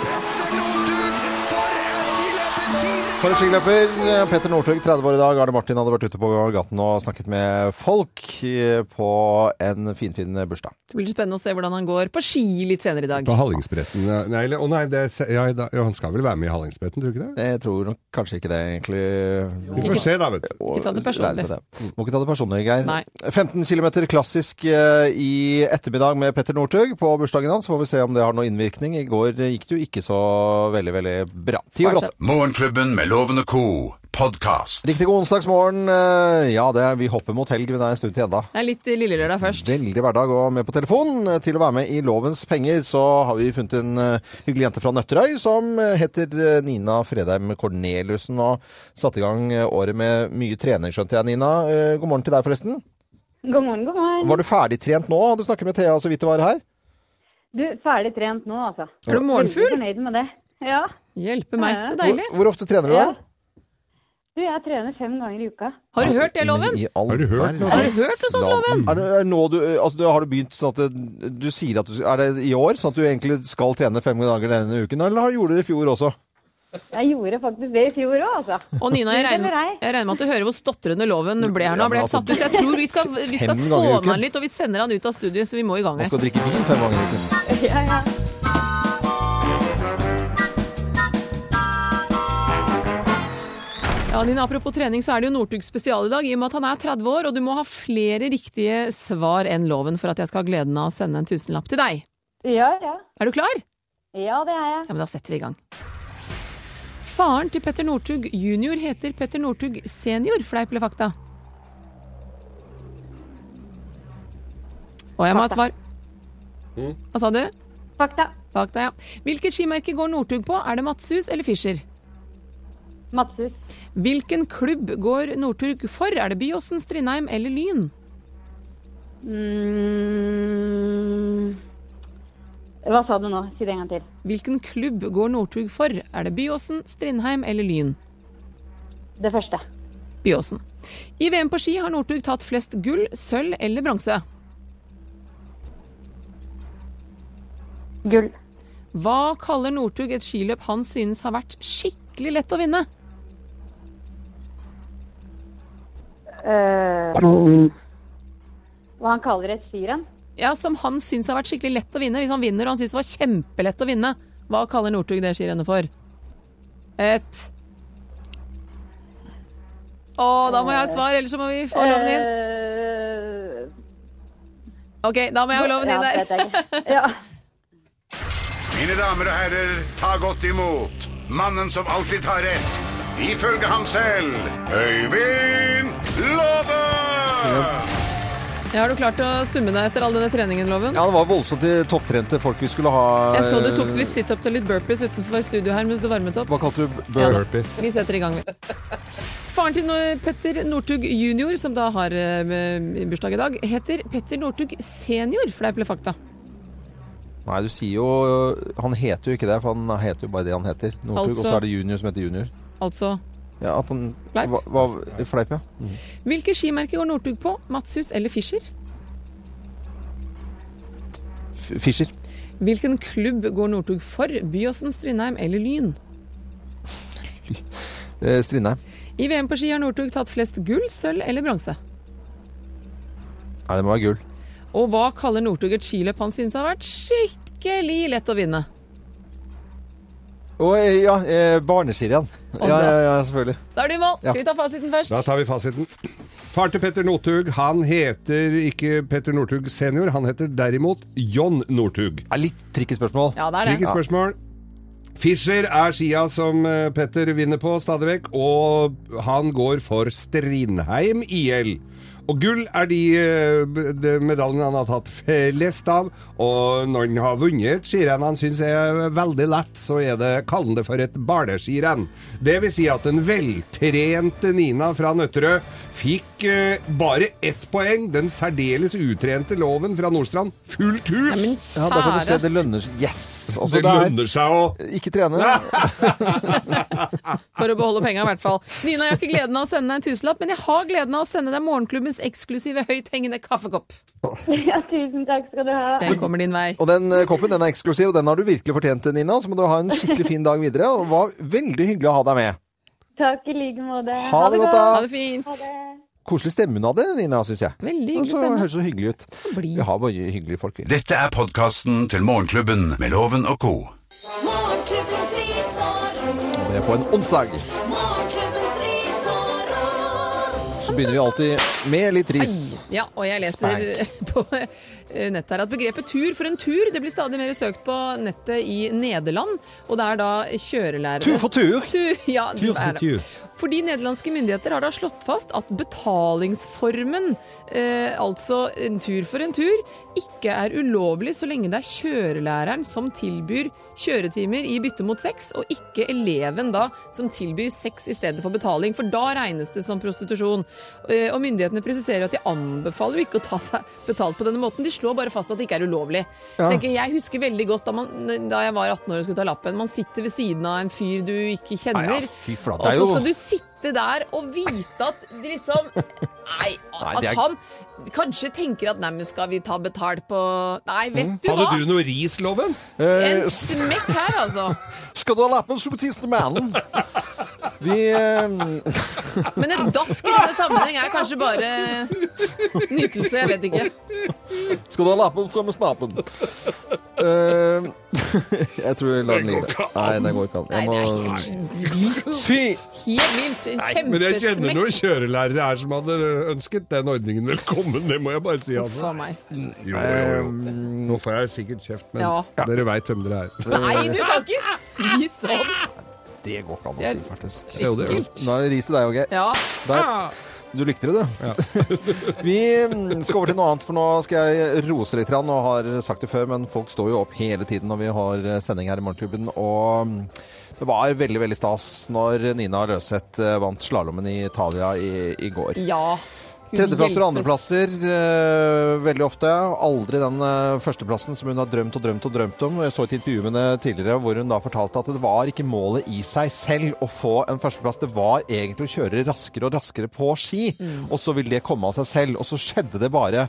Speaker 2: For en skiløper, eh, Petter Northug, 30 år i dag. Arne Martin hadde vært ute på gaten og snakket med folk eh, på en finfin bursdag.
Speaker 3: Det blir spennende å se hvordan han går på ski litt senere i dag.
Speaker 4: På Hallingsbretten ja. Nei, eller- å nei, det, er se- ja, da- ja, han skal vel være med i Hallingsbretten, tror du ikke det?
Speaker 2: Jeg tror nok kanskje ikke det, egentlig.
Speaker 4: Vi får se, da, vet du.
Speaker 2: Ikke
Speaker 3: ta det personlig.
Speaker 2: Må ikke ta det personlig, Geir.
Speaker 3: Nei.
Speaker 2: 15 km klassisk eh, i ettermiddag med Petter Northug på bursdagen hans. Får vi se om det har noen innvirkning. I går eh, gikk det jo ikke så veldig, veldig bra. Ti over åtte.
Speaker 1: Morgenklubben med Loven og co. podkast.
Speaker 2: Riktig god onsdagsmorgen. Eh, Ja, det er, vi hopper mot helg, men det er en stund til enda.
Speaker 3: Det er litt lillelørdag først.
Speaker 2: Veldig hverdag og med på telefon. Eh, Til å være med i Lovens penger så har vi funnet en eh, hyggelig jente fra Nøtterøy som eh, heter eh, Nina Fredheim Korneliussen og satte i gang eh, året med mye trening, skjønte jeg, Nina. Eh, God morgen til deg, forresten.
Speaker 13: God morgen, god morgen.
Speaker 2: Var du ferdigtrent nå? Hadde du snakket med Thea så vidt det var her?
Speaker 13: Du, ferdig trent nå, altså.
Speaker 2: Er du morgenfugl?
Speaker 13: Veldig fornøyd med det. Ja.
Speaker 3: Hjelpe
Speaker 13: meg, så deilig.
Speaker 2: Hvor, hvor ofte trener du,
Speaker 13: Ja.
Speaker 2: da?
Speaker 13: Du, jeg trener fem ganger i uka.
Speaker 3: Har du hørt det, Loven?
Speaker 2: Har du hørt
Speaker 3: noe? Har du hørt noe sånt, Loven?
Speaker 2: Er det er nå du, altså, du, har du begynt sånn at det- du sier at du Er det i år sånn at du egentlig skal trene fem dager denne uken, eller har- gjorde du det i fjor også?
Speaker 13: Jeg gjorde faktisk det i fjor òg, altså.
Speaker 3: Og Nina, jeg
Speaker 13: Tror det
Speaker 3: regner,
Speaker 13: eller ei?
Speaker 3: jeg regner med at du hører hvor stotrende loven ble her
Speaker 2: Ja,
Speaker 3: nå. Han ble
Speaker 2: men
Speaker 3: helt satt ut,
Speaker 2: altså,
Speaker 3: så jeg tror vi skal, vi skal
Speaker 2: fem ganger i
Speaker 3: skåne
Speaker 2: uken.
Speaker 3: han litt, og vi sender han ut av studio, så vi må i gang
Speaker 2: Man
Speaker 3: her.
Speaker 2: skal drikke vin fem ganger i uken.
Speaker 13: Ja, ja.
Speaker 3: Ja, Nina, apropos trening, så er det jo Northug spesial i dag, i og med at han er 30 år, og du må ha flere riktige svar enn loven for at jeg skal ha gleden av å sende en tusenlapp til deg.
Speaker 13: Ja, ja.
Speaker 3: Er du klar?
Speaker 13: Ja, det er jeg.
Speaker 3: Ja, men da setter vi i gang. Faren til Petter Northug junior heter Petter Northug senior, fleip eller fakta? Og jeg må ha et svar. Hva sa du?
Speaker 13: Fakta.
Speaker 3: Fakta, ja. Hvilket skimerke går Northug på? Er det Matshus eller Fischer?
Speaker 13: Matshus.
Speaker 3: Hvilken klubb går Northug for? Er det Byåsen, Strindheim eller Lyn?
Speaker 13: Mm. Hva sa du nå? Si det en gang til.
Speaker 3: Hvilken klubb går Northug for? Er det Byåsen, Strindheim eller Lyn?
Speaker 13: Det første.
Speaker 3: Byåsen. I VM på ski har Northug tatt flest gull, sølv eller bronse?
Speaker 13: Gull.
Speaker 3: Hva kaller Northug et skiløp han synes har vært skikkelig lett å vinne?
Speaker 13: Eh, hva han kaller et skirenn?
Speaker 3: Ja, Som han synes har vært skikkelig lett å vinne. Hvis han vinner og han synes det var kjempelett å vinne, hva kaller Northug det skirennet for? Et Å, da må jeg ha et svar, ellers så må vi få loven inn.
Speaker 13: Eh,
Speaker 3: OK, da må jeg ha loven inn
Speaker 13: Ja,
Speaker 3: der.
Speaker 13: det vet jeg ikke. Ja.
Speaker 1: Mine damer og herrer, ta godt imot mannen som alltid tar rett, ifølge ham selv, Øyvind Låve!
Speaker 3: Ja, har du klart å summe deg etter all denne treningen, Loven?
Speaker 2: Ja, det var voldsomt de topptrente folk vi skulle ha.
Speaker 3: Jeg så du tok
Speaker 2: eh,
Speaker 3: litt situps og litt burpees utenfor studio her mens du varmet opp.
Speaker 2: Hva kalte du
Speaker 3: Ja da.
Speaker 2: burpees?
Speaker 3: Vi setter i gang, vi. Faren til Nor- Petter Northug jr., som da har eh, med- bursdag i dag, heter Petter Northug senior, fleip eller fakta.
Speaker 2: Nei, du sier jo Han heter jo ikke det, for han heter jo bare det han heter. Northug.
Speaker 3: Altså-
Speaker 2: Og så er det junior som heter junior.
Speaker 3: Altså
Speaker 2: Ja, at han
Speaker 3: Fleip.
Speaker 2: hva- hva- Fleip, ja.
Speaker 3: Hvilke skimerker går Northug på? Matshus eller Fischer?
Speaker 2: F- Fischer.
Speaker 3: Hvilken klubb går Northug for? Byåsen, Strindheim eller Lyn?
Speaker 2: Eh, Strindheim.
Speaker 3: I VM på ski har Northug tatt flest gull, sølv eller bronse.
Speaker 2: Nei, det må være gull.
Speaker 3: Og hva kaller Northug et skiløp han synes har vært skikkelig lett å vinne?
Speaker 2: Og eh, ja, eh, barnesirien.
Speaker 3: Å,
Speaker 2: Ja,
Speaker 3: da.
Speaker 2: ja, ja, selvfølgelig.
Speaker 3: Da er du i mål.
Speaker 4: Ja.
Speaker 3: Skal vi ta fasiten først?
Speaker 4: Da tar vi fasiten. Far til Petter Northug, han heter ikke Petter Northug senior, han heter derimot John Northug.
Speaker 2: Det er litt tricky spørsmål.
Speaker 3: Ja, det er det.
Speaker 4: Tricky spørsmål. Fischer er skia som eh, Petter vinner på stadig vekk, og han går for Strindheim IL. Og gull er de, eh, b- de medaljene han har tatt flest av, og når han har vunnet skirenn han syns er veldig lett, så er det kaller han det for et barneskirenn. Det vil si at den veltrente Nina fra Nøtterøy fikk eh, bare ett poeng. Den særdeles utrente Loven fra Nordstrand, fullt hus!
Speaker 2: Ja, da kan du se det lønner seg. Yes! Også
Speaker 4: det
Speaker 2: der.
Speaker 4: lønner seg å
Speaker 2: Ikke trene.
Speaker 3: For å beholde penga, i hvert fall. Nina, jeg har ikke gleden av å sende deg en tusenlapp, men jeg har gleden av å sende deg morgenklubbens eksklusive høythengende kaffekopp.
Speaker 13: Ja, tusen takk skal du ha.
Speaker 3: Den kommer din vei.
Speaker 2: Og den eh, koppen den er eksklusiv, og den har du virkelig fortjent, Nina. Så må du ha en skikkelig fin dag videre. Og det var veldig hyggelig å ha deg med.
Speaker 13: Takk i like måte.
Speaker 2: Ha det godt, da. Ha det
Speaker 3: fint.
Speaker 2: Koselig stemme hun hadde, Nina, syns jeg.
Speaker 3: Veldig
Speaker 2: hyggelig
Speaker 1: stemme.
Speaker 2: Høres så hyggelig ut. Vi har bare hyggelige folk, vi.
Speaker 1: Dette er podkasten til Morgenklubben med Loven og co.
Speaker 14: Morgenklubbens ris og ros.
Speaker 2: Det er på en onsdag.
Speaker 14: Morgenklubbens ris og ros.
Speaker 2: Så begynner vi alltid med litt ris.
Speaker 3: Ja, og jeg leser på eh, nettet her at begrepet tur for en tur det blir stadig mer søkt på nettet i Nederland. Og det er da kjørelærere
Speaker 2: Tur for tur.
Speaker 3: ja, det
Speaker 2: Tur for
Speaker 3: er det.
Speaker 2: tur.
Speaker 3: Fordi nederlandske myndigheter har da slått fast at betalingsformen, eh, altså en tur for en tur, ikke er ulovlig så lenge det er kjørelæreren som tilbyr kjøretimer i bytte mot sex, og ikke eleven da som tilbyr sex i stedet for betaling, for da regnes det som prostitusjon. Eh, og myndighetene presiserer jo at de anbefaler jo ikke å ta seg betalt på denne måten, de slår bare fast at det ikke er ulovlig.
Speaker 15: Ja.
Speaker 3: Tenker jeg jeg husker veldig godt da, man, da jeg var 18 år og skulle ta lappen. Man sitter ved siden av en fyr du ikke kjenner.
Speaker 2: Nei, ja, fy flate,
Speaker 3: og
Speaker 2: det er
Speaker 3: så
Speaker 2: jo-
Speaker 3: skal du sitte der og vite at det liksom Nei,
Speaker 4: Nei,
Speaker 3: at
Speaker 4: det er-
Speaker 3: han kanskje tenker at nei, men skal vi ta betalt på Nei, vet du hva?
Speaker 4: Hadde du noe ris, Loven?
Speaker 3: En smekk her, altså.
Speaker 2: Skal du ha lappen, så må du tisse mannen. Vi eh,
Speaker 3: Men et dask i denne sammenheng er kanskje bare nytelse, jeg vet ikke.
Speaker 2: Skal du ha lappen, frem med snapen. Eh, jeg tror jeg lar den ligge der. Nei, den går ikke an. Jeg må... Fy!
Speaker 3: Helt vilt. En
Speaker 4: Nei, men jeg kjenner
Speaker 3: kjempesmekk.
Speaker 4: noen kjørelærere her som hadde ønsket den ordningen velkommen, det må jeg bare si.
Speaker 3: Uff a
Speaker 4: Altså.
Speaker 3: meg.
Speaker 4: Jo, jo, jo. Nå får jeg sikkert kjeft, men
Speaker 3: Ja.
Speaker 4: dere veit hvem dere er.
Speaker 3: Nei, du kan ikke si sånn.
Speaker 2: Det går ikke an å
Speaker 3: Det er
Speaker 2: si, faktisk.
Speaker 3: Jo, det gjør det.
Speaker 2: Da er det ris til deg, OK?
Speaker 3: Ja.
Speaker 2: Der. Du likte det, du. Vi mm, skal over til noe annet, for nå skal jeg rose litt. grann, Og har sagt det før, men folk står jo opp hele tiden når vi har eh, sending her i Morgenklubben. Og mm, det var veldig veldig stas når Nina Løseth eh, vant slalåmen i Italia i, i går.
Speaker 3: Ja. Gud
Speaker 2: Tredjeplasser og
Speaker 3: hjelpes.
Speaker 2: andreplasser eh, veldig ofte. Aldri den eh, førsteplassen som hun har drømt og drømt og drømt om. Jeg så et intervju med henne tidligere hvor hun da fortalte at det var ikke målet i seg selv å få en førsteplass. Det var egentlig å kjøre raskere og raskere på ski,
Speaker 3: Mm.
Speaker 2: og så vil det komme av seg selv. Og så skjedde det bare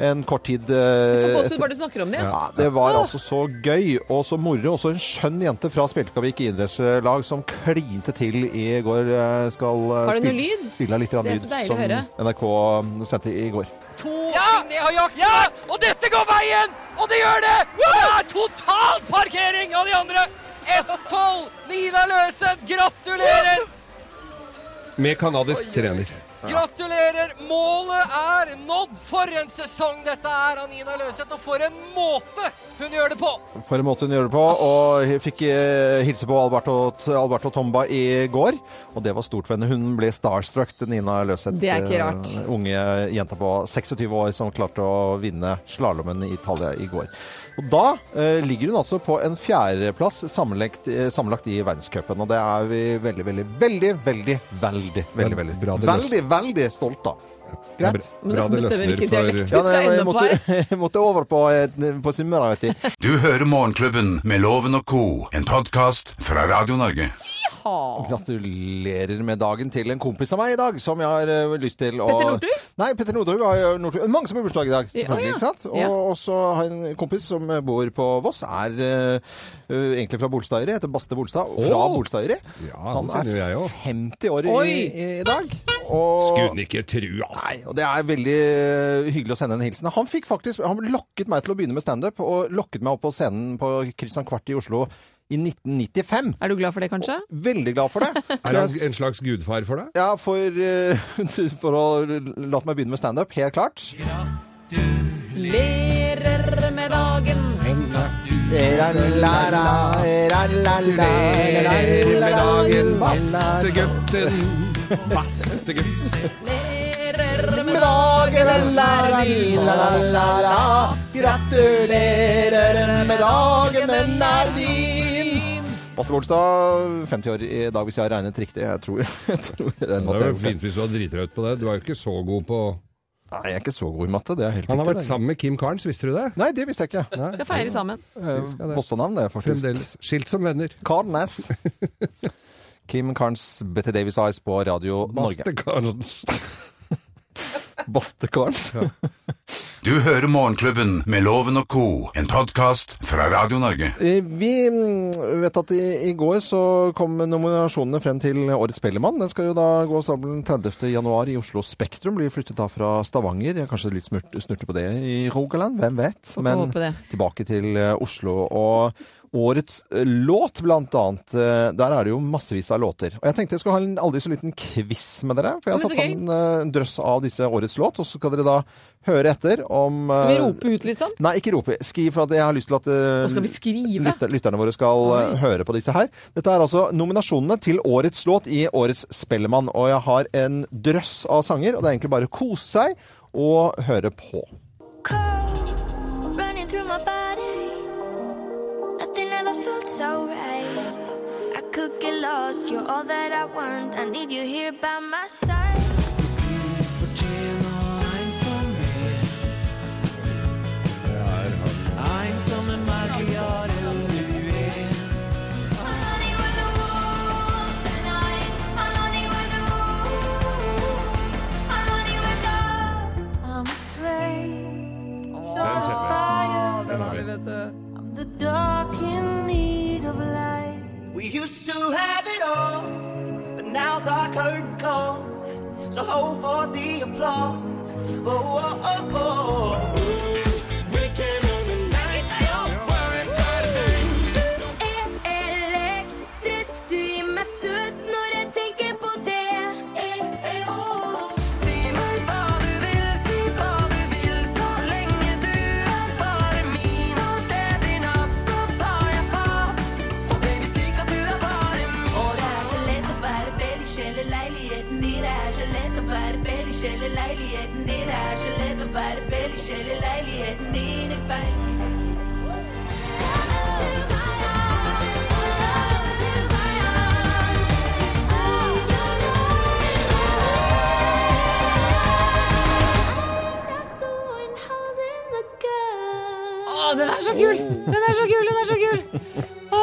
Speaker 2: en kort tid
Speaker 3: Får
Speaker 2: eh,
Speaker 3: gåsehud bare du snakker om det.
Speaker 2: ja, det var altså så gøy og så moro. Også en skjønn jente fra Spjelkavik idrettslag som klinte til i går. eh, Skal eh,
Speaker 16: Har du noe
Speaker 2: spille-
Speaker 16: lyd?
Speaker 2: Spille av litt grann
Speaker 16: Det er så
Speaker 2: lyd
Speaker 16: deilig å
Speaker 2: som
Speaker 16: høre.
Speaker 2: NRK eh, sendte i går.
Speaker 16: To ting de har jakt på, og dette går veien! Og det gjør det! Og det er total parkering av de andre! 1-12, Nina Løseth, gratulerer!
Speaker 4: Med kanadisk trener.
Speaker 16: Gratulerer! Målet er nådd! For en sesong dette er av Nina Løseth, og for en måte hun gjør det på!
Speaker 2: For en måte hun gjør det på. Og jeg fikk eh, hilse på Alberto, Alberto Tomba i går. Og det var stort for henne. Hun ble starstruck, den Nina Løseth.
Speaker 3: Det er ikke rart.
Speaker 2: eh, Unge jenta på 26 år som klarte å vinne slalåmen i Italia i går. Og da eh, ligger hun altså på en fjerdeplass sammenlagt, eh, sammenlagt i verdenscupen. Og det er vi veldig, veldig, veldig, veldig, veldig, veldig, veldig,
Speaker 4: det
Speaker 2: veldig, veldig stolt av. Greit?
Speaker 4: Bra Bra det det stemmer løsner ikke for- dialekt vi
Speaker 2: Ja,
Speaker 4: skal
Speaker 2: nei, jeg
Speaker 4: ende på
Speaker 2: måtte, jeg måtte over på, eh, på Sunnmøre, vet du.
Speaker 1: Du hører Morgenklubben med Loven og co., en podkast fra Radio Norge.
Speaker 2: Gratulerer med dagen til en kompis av meg i dag, som jeg har eh, lyst til å
Speaker 1: Petter Northug?
Speaker 2: Nei, Petter Northug har jo Northug. Mange som har bursdag i dag,
Speaker 1: Ja, å
Speaker 2: selvfølgelig.
Speaker 1: ja.
Speaker 2: ikke sant? Og
Speaker 1: Ja.
Speaker 2: også har jeg en kompis som bor på Voss. Er eh, eh, egentlig fra Bolstadøyri, heter Baste Bolstad. Fra
Speaker 4: Å!
Speaker 2: Bolstadøyri.
Speaker 4: Ja,
Speaker 2: Han
Speaker 4: det kjenner jo jeg
Speaker 2: er
Speaker 4: også.
Speaker 2: 50 år i,
Speaker 4: Oi!
Speaker 2: i, i dag. Og
Speaker 4: Skulle hun ikke tru, altså.
Speaker 2: Nei, og det er veldig eh, hyggelig å sende en hilsen. Han fikk faktisk, han lokket meg til å begynne med standup, og lokket meg opp på scenen på Christian Kvart i Oslo i 1995.
Speaker 3: Er du glad for det, kanskje?
Speaker 2: Veldig glad for det.
Speaker 4: Er han en slags gudfar for deg?
Speaker 2: Ja, for, eh, for å la meg begynne med standup, helt klart.
Speaker 3: Gratulerer med dagen.
Speaker 4: Gratulerer med dagen, vastegutten. Vastegutt.
Speaker 14: Med dagen, la-la-la-la-la.
Speaker 2: Gratulerer med dagen, den er din! Basse Bolstad, 50 år i dag, hvis jeg har regnet riktig. Jeg tror, jeg tror jeg regnet at
Speaker 4: Det
Speaker 2: jeg
Speaker 4: var
Speaker 2: har gjort
Speaker 4: fint hvis du var dritraut på det. Du er jo ikke så god på
Speaker 2: Nei, jeg er ikke så god i matte. Det er helt
Speaker 4: Han
Speaker 2: riktig,
Speaker 4: har vært
Speaker 2: det.
Speaker 4: sammen med Kim Carnes, visste du det?
Speaker 2: Nei, det visste jeg ikke.
Speaker 3: Skal feire sammen.
Speaker 2: Eh, Vossanavn, det, faktisk.
Speaker 4: Fremdeles. Skilt som venner.
Speaker 2: Carl Nass. Kim Carnes, Betty Davis Eyes på Radio Norge.
Speaker 4: Baste Carnes.
Speaker 2: Baste Carnes.
Speaker 1: Du hører Morgenklubben med Loven og Co., en podkast fra Radio Norge.
Speaker 2: Eh, Vi mm, vet at i, i går så kom nominasjonene frem til Årets Spellemann. Den skal jo da gå av stabelen 30. januar i Oslo Spektrum. Blir flyttet da fra Stavanger. Jeg er kanskje litt smurt, snurte på det i Rogaland, hvem vet.
Speaker 3: Får
Speaker 2: Men
Speaker 3: håpe det.
Speaker 2: tilbake til eh, Oslo. Og årets eh, låt, blant annet. eh, Der er det jo massevis av låter. Og jeg tenkte jeg skulle ha en aldri så liten quiz med dere. For jeg har
Speaker 3: Å, men
Speaker 2: satt
Speaker 3: så gøy.
Speaker 2: sammen eh, en drøss av disse årets låt, og så skal dere da høre etter om
Speaker 3: Skal vi
Speaker 2: eh,
Speaker 3: rope ut, liksom?
Speaker 2: Nei, ikke rope. Skriv for at jeg har lyst til at eh,
Speaker 3: Nå skal vi skrive.
Speaker 2: lytter, lytterne våre skal eh, høre på disse her. Dette er altså nominasjonene til årets låt i årets Spellemann. Og jeg har en drøss av sanger, og det er egentlig bare å kose seg og høre på.
Speaker 14: Running through my body. Nothing ever felt so right. I could get lost. You're all that I want. I need you here by my side. I'm afraid of fire.
Speaker 3: Den har vi, vet du.
Speaker 14: I'm the dark in need of light. We used to have it all, but now's our curtain call. So hold for the applause. Oh, oh, oh, oh. We came on the night, don't worry about a thing.
Speaker 15: Elektrisk, du gir meg støt når jeg tenker på det. Si meg hva du vil, si hva du vil, så lenge du er bare min. Alt er din natt, så tar jeg fatt. Og baby, slik at du er bare min.
Speaker 14: Og det er så lett å være bedre sjel i leiligheten din. Det er så lett å være bedre sjel i leiligheten din. Det er så lett å være bedre sjel i leiligheten din. i veien.
Speaker 3: Å, den er så kul! Den er så kul, den er så kul! Å,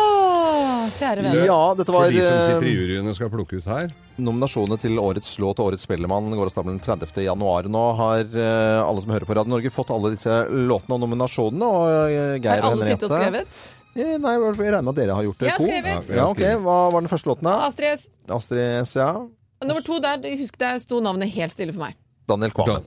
Speaker 3: kjære venner.
Speaker 2: Ja, dette var
Speaker 4: For de som sitter i
Speaker 2: eh,
Speaker 4: juryene og skal plukke ut her.
Speaker 2: Nominasjonene til årets låt og årets Spellemann går av stabelen 30. januar. Nå har eh, alle som hører på Radio Norge fått alle disse låtene og nominasjonene. Og eh, Geir
Speaker 3: Har
Speaker 2: og
Speaker 3: alle sittet og
Speaker 2: Henriette
Speaker 3: skrevet?
Speaker 2: Eh, Nei, jeg regner med at dere har gjort det.
Speaker 3: Jeg har
Speaker 2: Co.
Speaker 3: skrevet.
Speaker 2: Ja, ok. Hva var den første låten? da?
Speaker 3: Astrid S.
Speaker 2: Astrid S, ja.
Speaker 3: Nummer to der, husk der sto navnet helt stille for meg.
Speaker 2: Daniel Kvammen.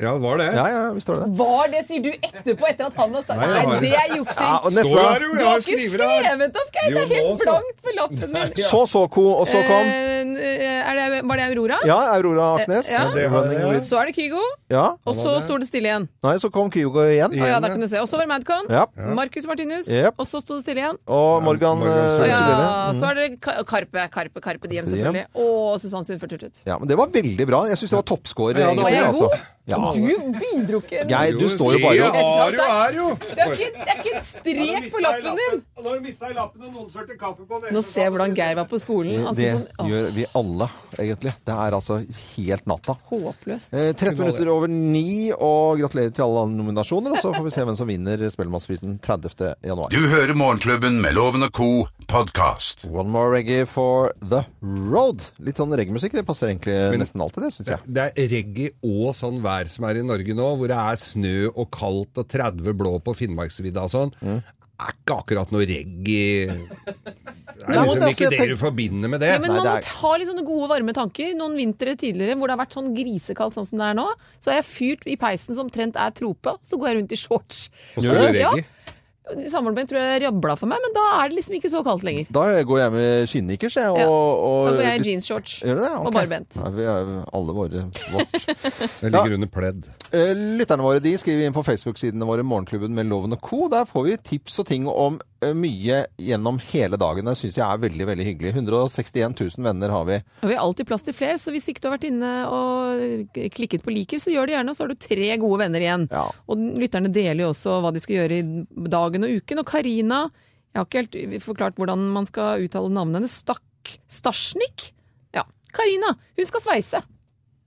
Speaker 4: Ja, var det?
Speaker 2: Ja, ja, visst var det det.
Speaker 3: Var det, sier du etterpå, etter at han har sagt
Speaker 2: Nei, jeg
Speaker 3: Nei,
Speaker 2: har-
Speaker 3: det er juksing!
Speaker 2: Ja, og neste
Speaker 3: du
Speaker 2: da.
Speaker 3: har ikke skrevet opp, Geir! Det
Speaker 2: Jo,
Speaker 3: er
Speaker 2: nå
Speaker 3: helt
Speaker 2: så.
Speaker 3: blankt på lappen min.
Speaker 2: Så så Co, og så kom
Speaker 3: Eh, er det, var det Aurora?
Speaker 2: Ja, Aurora Aksnes.
Speaker 3: Eh, ja.
Speaker 2: Ja, det var det, ja.
Speaker 3: Så er det Kygo,
Speaker 2: Ja.
Speaker 3: og så sto det stille igjen.
Speaker 2: Nei, så kom Kygo igjen.
Speaker 3: Å ja, da kunne du se. Og så var det Madcon.
Speaker 2: Ja.
Speaker 3: Marcus Martinus.
Speaker 2: Jep.
Speaker 3: Og så sto det stille igjen.
Speaker 2: Og Morgan, eh,
Speaker 3: Å ja,
Speaker 2: Sørensbille.
Speaker 3: så er det Ka- Karpe, Karpe, Karpe Diem, selvfølgelig. Og Susann Sundfjord Turtut.
Speaker 2: Ja, men det var veldig bra. Jeg syns det var toppscore.
Speaker 3: Ja, det var
Speaker 2: egentlig,
Speaker 3: jeg
Speaker 2: altså.
Speaker 3: god?
Speaker 2: Ja.
Speaker 3: Du bidro ikke
Speaker 2: Geir, du står jo bare og
Speaker 3: Det er ikke, det er ikke en strek på lappen din!
Speaker 4: Nå har du mista i lappen, og noen sølte kaffe på
Speaker 3: Nå ser jeg hvordan Geir var på skolen. Altså,
Speaker 2: Det
Speaker 3: sånn, å,
Speaker 2: gjør vi alle, egentlig. Det er altså helt natta.
Speaker 3: håpløst.
Speaker 2: Eh, 13 minutter over ni, og gratulerer til alle nominasjoner. Og så får vi se hvem som vinner Spellemannsprisen 30. januar.
Speaker 1: Du hører Morgenklubben med Loven og Co. podkast.
Speaker 2: One more reggae for The Road. Litt sånn reggaemusikk, det passer egentlig nesten alltid, det syns jeg.
Speaker 4: Det er reggae og sånn vær som er i Norge nå, hvor det er snø og kaldt og 30 blå på Finnmarksvidda og sånn.
Speaker 2: Mm.
Speaker 4: Er ikke akkurat noe reggae Det er
Speaker 2: Nei, men
Speaker 4: liksom
Speaker 2: det er
Speaker 4: ikke
Speaker 2: fordi jeg
Speaker 4: det du
Speaker 2: tenk-
Speaker 4: forbinder med det.
Speaker 3: Ja, men man må ta litt sånne gode, varme tanker. Noen vintre tidligere hvor det har vært sånn grisekaldt sånn som det er nå, så har jeg fyrt i peisen som omtrent er trope, så går jeg rundt i shorts.
Speaker 4: Og så er det
Speaker 3: Ja.
Speaker 4: reggae.
Speaker 3: Samboeren min tror jeg rabla for meg, men da er det liksom ikke så kaldt lenger.
Speaker 2: Da går jeg med skinnnikkers, jeg. Og,
Speaker 3: Ja.
Speaker 2: og,
Speaker 3: Da går jeg i jeansshorts
Speaker 2: Gjør du det?
Speaker 3: og
Speaker 2: Ok.
Speaker 3: barbent.
Speaker 2: Ja, vi er alle våre vårt.
Speaker 4: Jeg ligger under pledd.
Speaker 2: Eh, Lytterne våre de skriver inn på Facebook-sidene våre Morgenklubben med Loven og Co. Der får vi tips og ting om eh, mye gjennom hele dagen. Det syns jeg er veldig veldig hyggelig. 161 000 venner har vi.
Speaker 3: Og vi har alltid plass til flere, så hvis ikke du har vært inne og klikket på liker, så gjør det gjerne, og så har du tre gode venner igjen. Og lytterne deler jo også hva de skal gjøre i dagen og uken. Og Karina, jeg har ikke helt forklart hvordan man skal uttale navnet hennes, stakk Stasjnik? Ja. Karina, hun skal sveise.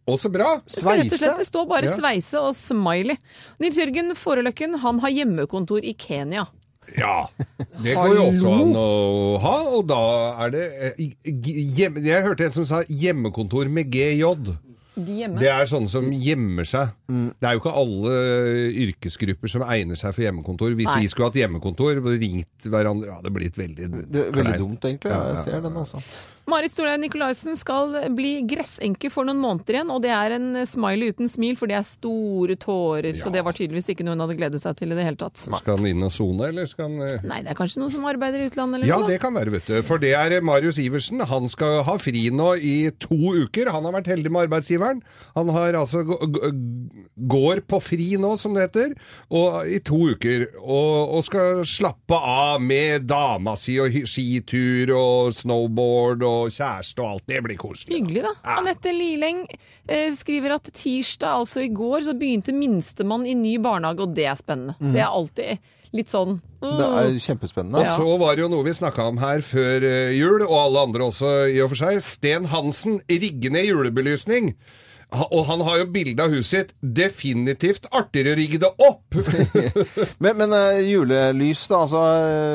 Speaker 4: Å, så bra!
Speaker 3: Det skal rett og slett det står bare
Speaker 4: Ja.
Speaker 3: 'sveise' og 'smiley'. Nils Jørgen Foreløkken han har hjemmekontor i Kenya.
Speaker 4: Ja, det går jo også an å ha, og da er det eh, g- hjem, Jeg hørte en som sa hjemmekontor med GJ.
Speaker 3: Hjemme.
Speaker 4: Det er sånne som gjemmer seg.
Speaker 2: Mm.
Speaker 4: Det er jo ikke alle yrkesgrupper som egner seg for hjemmekontor. Hvis
Speaker 2: Nei.
Speaker 4: vi skulle hatt hjemmekontor og ringt hverandre Ja, det blir et veldig
Speaker 2: Det er veldig
Speaker 4: kleint.
Speaker 2: dumt, egentlig.
Speaker 4: Ja, ja,
Speaker 2: Jeg
Speaker 4: ja.
Speaker 2: ser den, altså.
Speaker 3: Marit Storlein Nikolaisen skal bli gressenke for noen måneder igjen, og det er en smiley uten smil, for det er store tårer. Så det var tydeligvis ikke noe hun hadde gledet seg til i det hele tatt.
Speaker 4: Skal han inn og sone, eller skal han eh?
Speaker 3: Nei, det er kanskje noen som arbeider i utlandet eller
Speaker 4: Ja,
Speaker 3: noe?
Speaker 4: det kan være, vet du. For det er Marius Iversen. Han skal ha fri nå i to uker. Han har vært heldig med arbeidsgiveren. Han har altså gå- g- går på fri nå, som det heter, og, i to uker. Og, og skal slappe av med dama si og hy- skitur og snowboard og kjæreste og alt. Det blir koselig.
Speaker 3: Hyggelig, da. Anette Lileng eh, skriver at tirsdag, altså i går, så begynte minstemann i ny barnehage, og det er spennende.
Speaker 4: Mhm.
Speaker 3: Det er alltid litt sånn mm.
Speaker 2: Det er kjempespennende.
Speaker 4: Og så var det jo noe vi snakka om her før eh, jul, og alle andre også i og for seg. Sten Hansen rigge ned julebelysning. Ha- Og han har jo bilde av huset sitt. Definitivt artigere å rigge det opp!
Speaker 2: Men, men eh, julelys, da. Altså,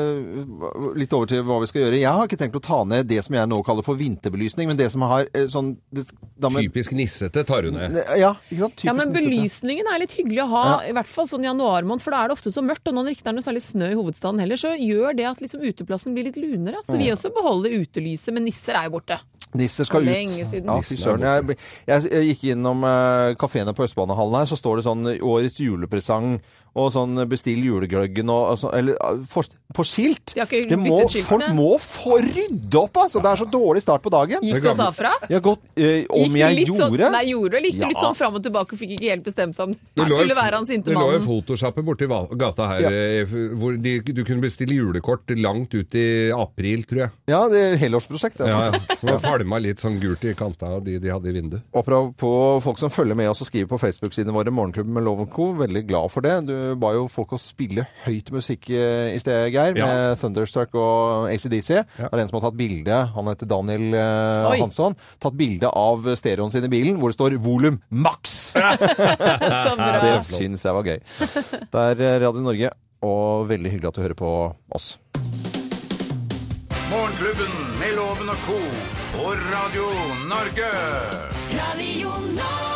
Speaker 2: eh, litt over til hva vi skal gjøre. Jeg har ikke tenkt å ta ned det som jeg nå kaller for vinterbelysning, men det som har eh, sånn det, da med,
Speaker 4: Typisk nissete tar hun ned.
Speaker 2: Eh, Ja, ikke sant? Typisk
Speaker 3: Ja, men
Speaker 2: nissete.
Speaker 3: belysningen er litt hyggelig å ha,
Speaker 2: Ja.
Speaker 3: i hvert fall sånn i januarmåned, for da er det ofte så mørkt, og nå når det ikke er noe særlig snø i hovedstaden heller, så gjør det at liksom uteplassen blir litt lunere. Så vi
Speaker 2: Ja.
Speaker 3: også beholder utelyset, men nisser er jo borte.
Speaker 2: Nisser skal ut.
Speaker 3: Lenge siden.
Speaker 2: Ja, fy søren. Jeg, jeg, jeg gikk innom uh, kafeene på Østbanehallen her, så står det sånn årets julepresang og sånn bestill julegløggen og, og sånn, eller eh, for, på skilt.
Speaker 3: De har ikke
Speaker 2: Det må,
Speaker 3: byttet skiltene.
Speaker 2: folk må få rydde opp, altså! Det er så dårlig start på dagen.
Speaker 3: Gikk du og sa fra?
Speaker 2: Jeg har gått, eh, om
Speaker 3: Gikk du
Speaker 2: jeg
Speaker 3: litt
Speaker 2: gjorde?
Speaker 3: Sånn, nei, gjorde du? Gikk du litt
Speaker 2: Ja.
Speaker 3: sånn fram og tilbake og fikk ikke helt bestemt deg om det
Speaker 4: lå jo-
Speaker 3: skulle være han sinte
Speaker 4: det lå jo
Speaker 3: mannen?
Speaker 4: fotosjappe borti val- gata her eh, f- hvor de, du kunne bestille julekort langt ut i april, tror jeg.
Speaker 2: Ja, det er helårsprosjekt. det,
Speaker 4: Ja,
Speaker 2: faktisk.
Speaker 4: ja. Falma litt sånn gult i kanta av de de hadde i vinduet.
Speaker 2: Apropos folk som følger med oss og skriver på Facebook-sidene våre Morgenklubben med Loven Co. Veldig glad for det. Du ba jo folk å spille høyt musikk eh, i sted, Geir,
Speaker 4: Ja.
Speaker 2: med Thunderstruck og ACDC. Det er en som har tatt bilde, han heter Daniel eh,
Speaker 4: Oi.
Speaker 2: Hansson, tatt bilde av stereoen sin i bilen hvor det står 'volum maks'.
Speaker 4: bra.
Speaker 2: det syns jeg var gøy. Det er eh, Radio Norge, og veldig hyggelig at du hører på oss.
Speaker 1: Morgenklubben med Loven og co. på Radio Norge.
Speaker 15: Radio Norge.